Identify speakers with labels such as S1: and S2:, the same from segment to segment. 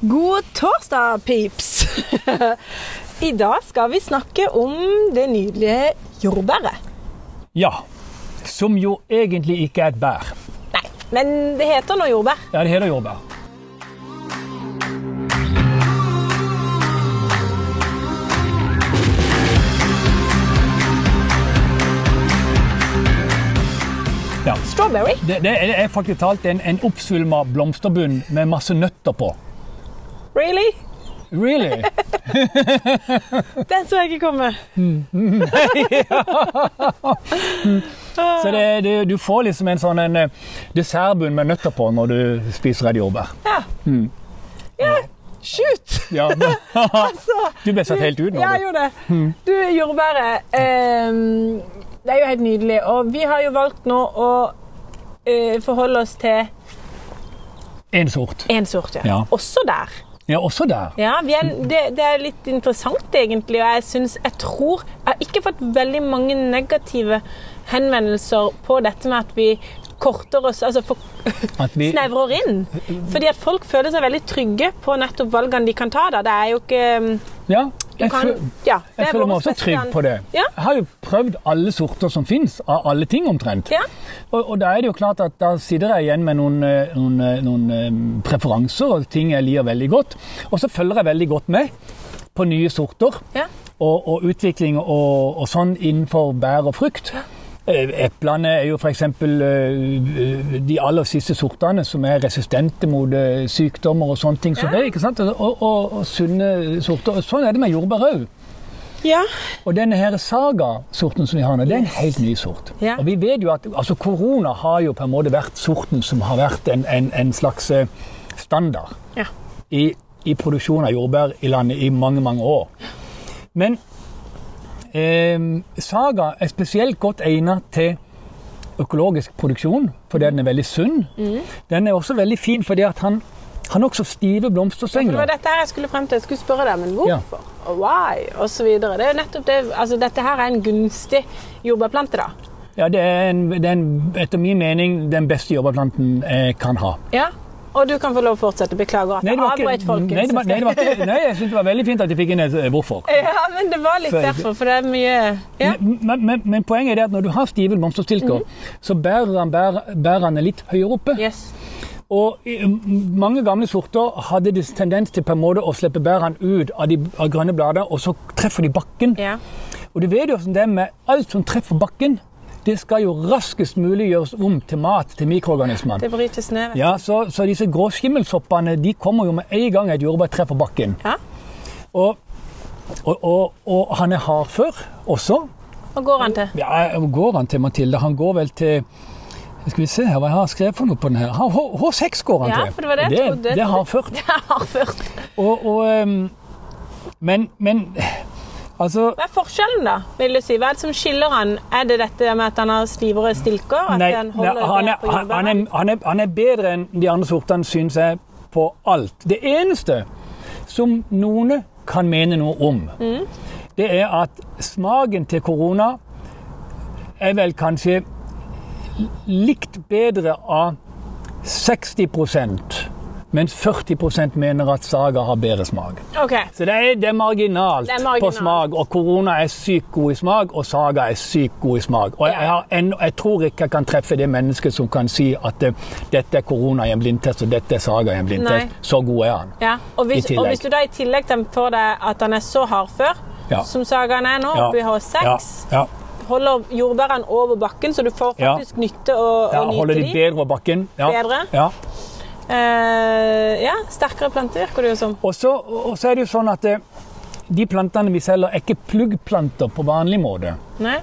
S1: God torsdag, pips! I dag skal vi snakke om det nydelige jordbæret.
S2: Ja. Som jo egentlig ikke er et bær.
S1: Nei, men det heter nå jordbær.
S2: Ja, det heter jordbær. Ja.
S1: Strawberry.
S2: Det, det er- det er faktisk talt en, en oppsvulma blomsterbunn med masse nøtter på.
S1: Really?
S2: Really?
S1: Den så jeg ikke komme.
S2: Så det, det, du får liksom en sånn en eh, dessertbunn med nøtter på når du spiser et jordbær.
S1: Ja.
S2: Hmm.
S1: ja. Shoot!
S2: Ja, men,
S1: Altså,
S2: du ble Ah. satt helt ut nå.
S1: Ja,
S2: du. Hmm.
S1: jeg gjorde det. Du, jordbæret. ehm, det er jo helt nydelig. Og vi har jo valgt nå å eh, forholde oss til
S2: En sort.
S1: én sort, ja.
S2: Ja.
S1: Også der.
S2: Ja, også der.
S1: Ja, vi er, det, det er litt interessant egentlig, og jeg synes, jeg tror Jeg har ikke fått veldig mange negative henvendelser på dette med at vi korter oss, altså for,
S2: At vi,
S1: snevrer inn. Fordi at folk føler seg veldig trygge på nettopp valgene de kan ta da. Det er jo ikke um,
S2: ja,
S1: Du
S2: jeg
S1: kan
S2: fø-
S1: Ja. det
S2: Jeg
S1: er
S2: føler meg
S1: vårt
S2: også
S1: beste
S2: trygg
S1: land.
S2: på det.
S1: Ja.
S2: Jeg har jo prøvd alle sorter som fins, av alle ting omtrent.
S1: Ja.
S2: Og, og da er det jo klart at da sitter jeg igjen med noen, eh, noen, eh, noen eh, preferanser og ting jeg liker veldig godt. Og så følger jeg veldig godt med på nye sorter
S1: Ja.
S2: og, og utvikling og, og sånn innenfor bær og frukt. Eh, Eplene er jo f.eks. eh, de aller siste sortene som er resistente mot eh, sykdommer og sånne ting. som
S1: Ja.
S2: det, ikke sant? Og, og, og sunne sorter. Og Sånn er det med jordbær òg.
S1: Ja.
S2: Og denne her saga-sorten som vi har nå, det er en helt ny sort.
S1: Ja.
S2: Og vi vet jo at altså, korona har jo på en måte vært sorten som har vært en, en, en slags eh, standard
S1: Ja.
S2: i, i produksjon av jordbær i landet i mange, mange år. Men eh, saga er spesielt godt egnet til økologisk produksjon, fordi den er veldig sunn.
S1: Mm.
S2: Den er også veldig fin fordi at han han har også stive
S1: For det var
S2: blomsterstenger.
S1: dette her jeg skulle frem til. Jeg skulle spørre deg, men hvorfor? Og why? Og så videre. Det er jo nettopp det. Altså, dette her er en gunstig jordbærplante, da.
S2: Ja, det er, en, det er en, etter min mening den beste jordbærplanten jeg kan ha.
S1: Ja. Og du kan få lov å fortsette. Beklager at
S2: Nei,
S1: jeg
S2: det var ikke-
S1: avbrøt folkens.
S2: Nei, det var, nei, det var ikke, nei, jeg syns det var veldig fint at de fikk inn et eh, hvorfor.
S1: Ja, men det var litt
S2: Før-
S1: derfor, for det er mye ja.
S2: Men, men, men poenget er det at når du har stive blomsterstilker,
S1: Mhm.
S2: så bærer han bær- bærene litt høyere oppe.
S1: Yes.
S2: Og i- m- mange gamle sorter hadde det tendens til på en måte å slippe bærene ut av de av grønne blader, og så treffer de bakken.
S1: Ja.
S2: Og du vet jo hvordan det er med alt som treffer bakken. Det skal jo raskest mulig gjøres om til mat til mikroorganismene.
S1: Det brytes ned.
S2: Ja, så, så disse gråskimmelshoppene de kommer jo med en gang et jordbær treffer bakken.
S1: Ja.
S2: Og, og, og, og han er hardfør også.
S1: Og går han til?
S2: Ja, går han til Mathilde? Han går vel til skal vi se her, Hva jeg har skrevet for noe på den her? H H6 går han
S1: Ja,
S2: til.
S1: for det var det jeg
S2: det,
S1: trodde.
S2: det er hardført.
S1: Det er hardført.
S2: Og, og, ehm, men, men Altså
S1: Hva er forskjellen, da? vil du si? Hva er det som skiller han? Er det dette med at han har stivere stilker? At
S2: Nei,
S1: han
S2: nei
S1: holder
S2: han,
S1: mer
S2: er,
S1: på
S2: han, han,
S1: jordbærene?
S2: er, han, er, han er bedre enn de andre sortene, syns jeg, på alt. Det eneste som noen kan mene noe om,
S1: Mm.
S2: det er at smaken til korona er vel kanskje likt bedre av 60 mens 40 mener at Saga har bedre smak.
S1: Ok.
S2: Så det er, det er marginalt
S1: Det er marginalt.
S2: på smak, og korona er sykt god i smak, og saga er sykt god i smak. Og jeg, har ennå- jeg tror ikke jeg kan treffe det mennesket som kan si at eh, dette er korona i en blindtest, og dette er saga i en blindtest.
S1: Nei.
S2: Så god er han.
S1: Ja. Og, hvis,
S2: I tillegg.
S1: og hvis du da i tillegg til- får deg at han er så hardfør,
S2: Ja.
S1: som sagaen er nå, oppe i H6,
S2: Ja, ja.
S1: holder jordbærene over bakken, så du får
S2: Ja.
S1: faktisk nytte og,
S2: Ja,
S1: og
S2: holder
S1: nyte de.
S2: de bedre over bakken. Ja.
S1: Bedre?
S2: Ja.
S1: Eh, ja, sterkere plante virker det jo som.
S2: Og så, og så er det jo sånn at eh, de plantene vi selger, er ikke pluggplanter på vanlig måte.
S1: Nei?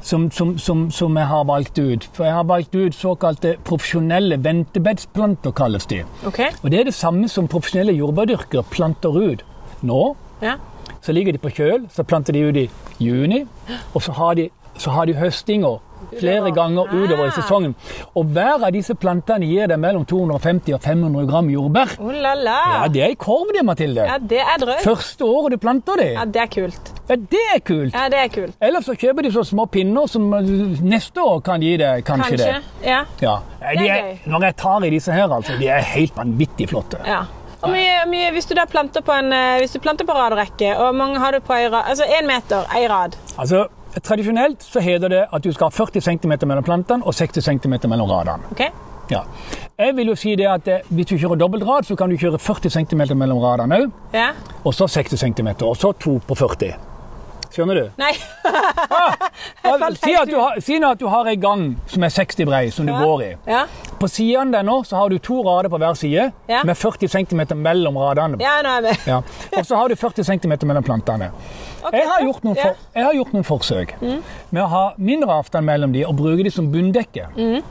S2: som, som, som, som jeg har valgt ut. For jeg har valgt ut såkalte profesjonelle ventebedsplanter, kalles de.
S1: Ok.
S2: Og det er det samme som profesjonelle jordbærdyrkere planter ut. Nå
S1: Ja.
S2: så ligger de på kjøl, så planter de ut i juni, og så har de, så har de høstinger flere ganger utover i
S1: Ah.
S2: sesongen. Og hver av disse plantene gir deg mellom 250 og 500 gram jordbær.
S1: Oh la la!
S2: Ja, det er ei korv det, Mathilde.
S1: Ja, det er drøyt.
S2: Første året du planter det.
S1: Ja, det er kult.
S2: Ja, det er kult.
S1: Ja, det er kult.
S2: Eller så kjøper de så små pinner som eh, neste år kan gi deg kanskje,
S1: Kanskje.
S2: det.
S1: Ja.
S2: Ja. Nei,
S1: Det
S2: De
S1: er
S2: er, når jeg tar i disse her, altså, de er helt vanvittig flotte.
S1: ja. Og mye, mye, hvis du da planter på en eh, Hvis du planter på rad og rekke, og mange har du på ei rad Altså én meter, ei rad.
S2: Altså, Tradisjonelt så heter det at du skal ha 40 cm mellom plantene og 60 cm mellom radene.
S1: ok?
S2: Ja. Jeg vil jo si det at eh, Hvis du kjører dobbeltrad, så kan du kjøre 40 cm mellom radene òg.
S1: Ja?
S2: Og så 60 cm, og så 2 på 40. Skjønner du?
S1: Nei.
S2: Ja,
S1: falt
S2: si,
S1: helt
S2: at du har, si nå at du har ei gang som er 60 brei, som du går i.
S1: Ja,
S2: På siden der nå så har du to rader på hver side
S1: Ja.
S2: med 40 cm mellom radene.
S1: ja nå er vi
S2: Ja. Og så har du 40 cm mellom plantene.
S1: Ok,
S2: Jeg har gjort noen,
S1: ja. Mm.
S2: for, jeg har gjort noen forsøk med å ha mindre avstand mellom de og bruke de som bunndekke.
S1: Mm.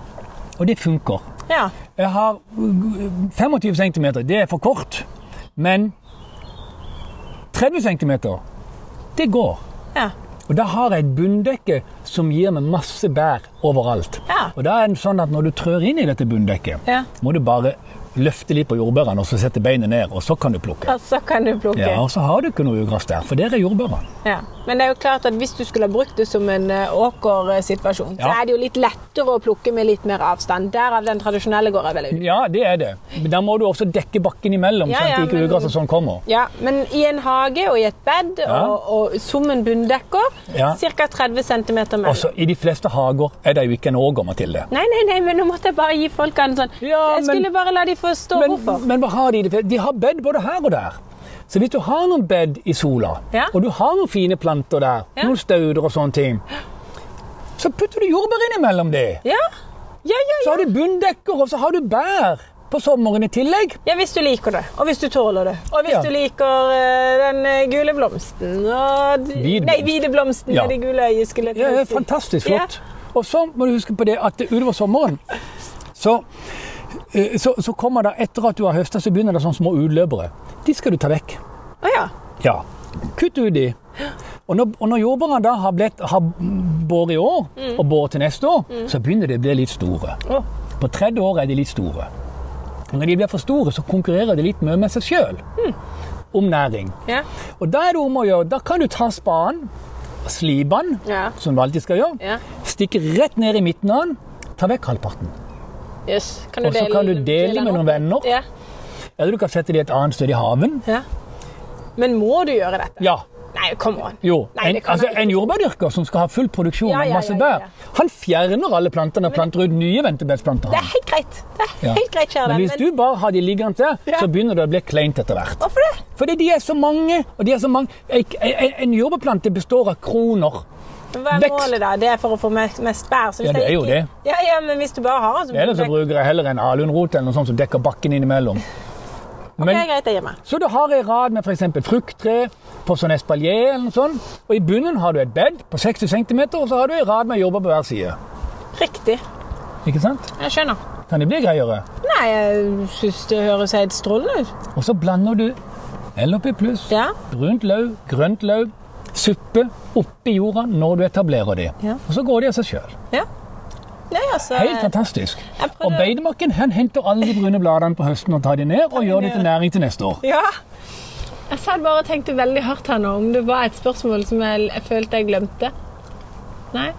S2: Og det funker.
S1: Ja.
S2: Jeg har uh, 25 cm, det er for kort. Men 30 cm, det går.
S1: ja.
S2: Og da har jeg et bunndekke som gir meg masse bær overalt.
S1: Ja.
S2: Og da er det sånn at når du trør inn i dette bunndekket,
S1: Ja.
S2: må du bare løfte litt på jordbærene og så sette beinet ned, og så kan du plukke.
S1: Og så Altså, kan du plukke.
S2: Ja, og så har du ikke noe ugress der, for der er jordbærene.
S1: Ja. Men det er jo klart at hvis du skulle ha brukt det som en eh, åkersituasjon, så
S2: Ja.
S1: er det jo litt lettere å plukke med litt mer avstand. Derav den tradisjonelle går jeg veldig ut.
S2: Ja, det er det. Men da må du også dekke bakken imellom,
S1: Ja,
S2: sånn at
S1: ja,
S2: ikke
S1: men-
S2: ugresset sånn kommer.
S1: Ja, men i en hage og i et bed
S2: Ja.
S1: og, og som en bunndekker,
S2: Ja.
S1: ca. 30 cm mellom.
S2: Altså, I de fleste hager er det jo ikke en åger, Mathilde.
S1: Nei, nei, nei, men nå måtte jeg bare gi folk en sånn
S2: Ja,
S1: Jeg
S2: men-
S1: skulle bare la de forstå
S2: Men,
S1: hvorfor.
S2: men hva har de? i det? De har bed både her og der. Så hvis du har noen bed i sola,
S1: Ja.
S2: og du har noen fine planter der,
S1: Ja.
S2: noen stauder og sånne ting, så putter du jordbær innimellom de.
S1: Ja. Ja, ja,
S2: Så
S1: ja.
S2: har du bunndekker, og så har du bær på sommeren i tillegg.
S1: ja, hvis du liker det, og hvis du tåler det. Og hvis
S2: Ja.
S1: du liker eh, den eh, gule blomsten og de-
S2: Hvit
S1: Nei,
S2: blomst.
S1: hvide blomsten
S2: Ja.
S1: med de gule øyene. skulle jeg
S2: Ja,
S1: til
S2: det
S1: å
S2: er
S1: si.
S2: fantastisk
S1: Ja.
S2: flott. Og så må du huske på det at utover sommeren så, eh, så, så kommer det etter at du har høsta, så begynner det sånne små utløpere. De skal du ta vekk.
S1: Å ja.
S2: Ja. Kutt ut de. Og når, og når jordbærene da har, blitt, har båret i år og båret til neste år, så begynner de å bli litt store.
S1: Å.
S2: På tredje år er de litt store. Og når de blir for store, så konkurrerer de litt mer med seg sjøl om næring.
S1: Ja.
S2: Og da er det om å gjøre, da kan du ta spaden, sliban,
S1: Ja.
S2: som du alltid skal gjøre,
S1: Ja.
S2: stikke rett ned i midten av den, ta vekk halvparten.
S1: Yes. Kan
S2: Og så kan du dele med noen venner,
S1: Ja.
S2: eller du kan sette det et annet sted i haven.
S1: ja. Men må du gjøre dette?
S2: Ja,
S1: Nei, come on.
S2: jo.
S1: Nei,
S2: en,
S1: det kan
S2: altså,
S1: jeg ikke.
S2: en jordbærdyrker som skal ha full produksjon
S1: Ja, ja,
S2: av masse
S1: ja, ja, ja.
S2: bær, han fjerner alle plantene og planter ut nye ventebedsplanter.
S1: Det er helt greit. Det er helt greit, kjære
S2: Men
S1: venn.
S2: hvis du bare har de liggende der,
S1: Ja.
S2: så begynner det å bli kleint etter hvert.
S1: Hvorfor det?
S2: Fordi de er så mange, og de er så mange. En, en, en jordbærplante består av kroner.
S1: Hva er
S2: Vekst.
S1: målet, da? Det er for å få me- mest bær. så hvis
S2: Ja, det er jo
S1: ikke-
S2: det.
S1: Ja, ja, men hvis du bare har den, så
S2: Ellers så bruker jeg heller en alunrot eller noe sånt som dekker bakken innimellom.
S1: Det er
S2: Men,
S1: greit, jeg gir meg.
S2: så du har en rad med f.eks. frukttre på sånn espalier eller noe sånt. Og i bunnen har du et bed på 60 cm, og så har du en rad med jobber på hver side.
S1: Riktig.
S2: Ikke sant?
S1: Jeg skjønner.
S2: Kan det bli greiere?
S1: Nei, jeg syns det høres helt strålende ut.
S2: Og så blander du LOP pluss,
S1: Ja.
S2: brunt løv, grønt løv, suppe oppi jorda når du etablerer de.
S1: Ja.
S2: Og så går de av seg sjøl.
S1: Ja. Nei, altså
S2: Helt fantastisk.
S1: Jeg prøvde-
S2: Og beidemakken han henter alle de brune bladene på høsten og tar de ned og gjør de til næring til neste år.
S1: Ja. Jeg satt bare og tenkte veldig hardt her nå om det var et spørsmål som jeg, jeg følte jeg glemte. Nei?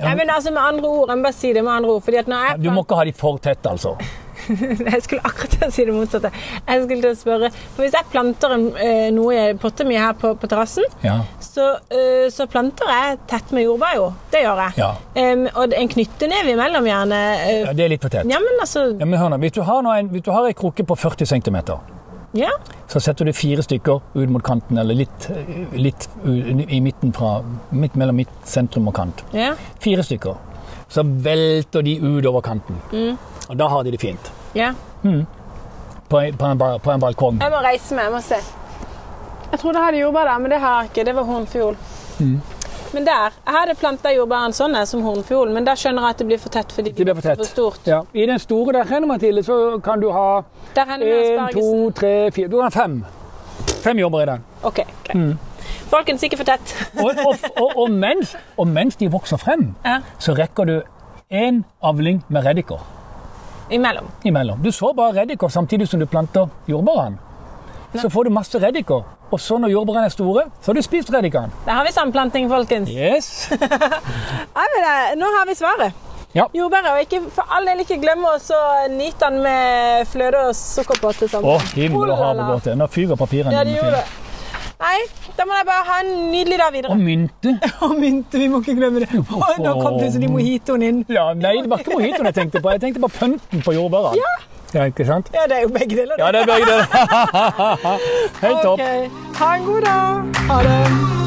S1: Nei, men altså Med andre ord, jeg må bare si det med andre ord. fordi at når jeg
S2: Du må ikke ha de for tett, altså.
S1: Jeg skulle akkurat til å si det motsatte. Jeg skulle til å spørre, for Hvis jeg planter en, eh, noe i potta mi her på, på terrassen,
S2: Ja.
S1: så, eh, så planter jeg tett med jordbær, jo. Det gjør jeg.
S2: Ja.
S1: Em, og en knyttneve imellom, gjerne. eh,
S2: ja, det er litt for tett.
S1: ja, men altså
S2: Ja, men hør nå, hvis du har, nå en, hvis du har en krukke på 40 cm,
S1: Ja.
S2: så setter du fire stykker ut mot kanten, eller litt, eh, litt u- i midten fra, midt mellom midt sentrum og kant.
S1: ja.
S2: Fire stykker. Så velter de utover kanten. Og da har de det fint.
S1: ja.
S2: På en, på en, ba- på en balkong.
S1: Jeg må reise meg. Jeg må se. Jeg trodde jeg hadde jordbær der, men det har jeg ikke. Det var hornfjol.
S2: Mm.
S1: Men der. Jeg hadde planta jordbæren sånn her, som hornfjol, men da skjønner jeg at det blir for tett. fordi
S2: Det blir for tett.
S1: for stort.
S2: Ja. I den store der henne, Mathilde, så kan du ha
S1: Der hender vi
S2: en,
S1: aspargesen.
S2: to, tre, fire Du kan ha fem. Fem jobber i den.
S1: Ok, greit.
S2: Mm.
S1: Folkens, ikke for tett.
S2: Og, og, og, og, mens, og mens de vokser frem,
S1: Ja.
S2: så rekker du én avling med reddiker.
S1: Imellom.
S2: imellom. Du sår bare reddiker samtidig som du planter jordbærene. Så får du masse reddiker, og så når jordbærene er store, så har du spist reddikene.
S1: Der har vi samplanting, folkens.
S2: Yes.
S1: Ja, men, eh, nå har vi svaret.
S2: Ja.
S1: jordbæret. Og ikke, for all del ikke glem å så nyte den med fløte og sukker på til sammen.
S2: Å, himmel og hav og båt. Nå fyker papirene.
S1: Ja, det
S2: mine
S1: gjorde
S2: til.
S1: det. Nei, da må jeg bare ha en nydelig dag videre.
S2: Og mynte.
S1: Og mynte, vi må ikke glemme det.
S2: Å, nå kom plutselig
S1: mojitoen inn.
S2: Ja, nei, det var ikke mojitoen jeg tenkte på. Jeg tenkte på pønten på jordbærene. Ja. ikke sant?
S1: Ja, det er jo begge deler.
S2: Ja, det er begge deler. Helt topp.
S1: Ok. Ha en god dag. Ha det.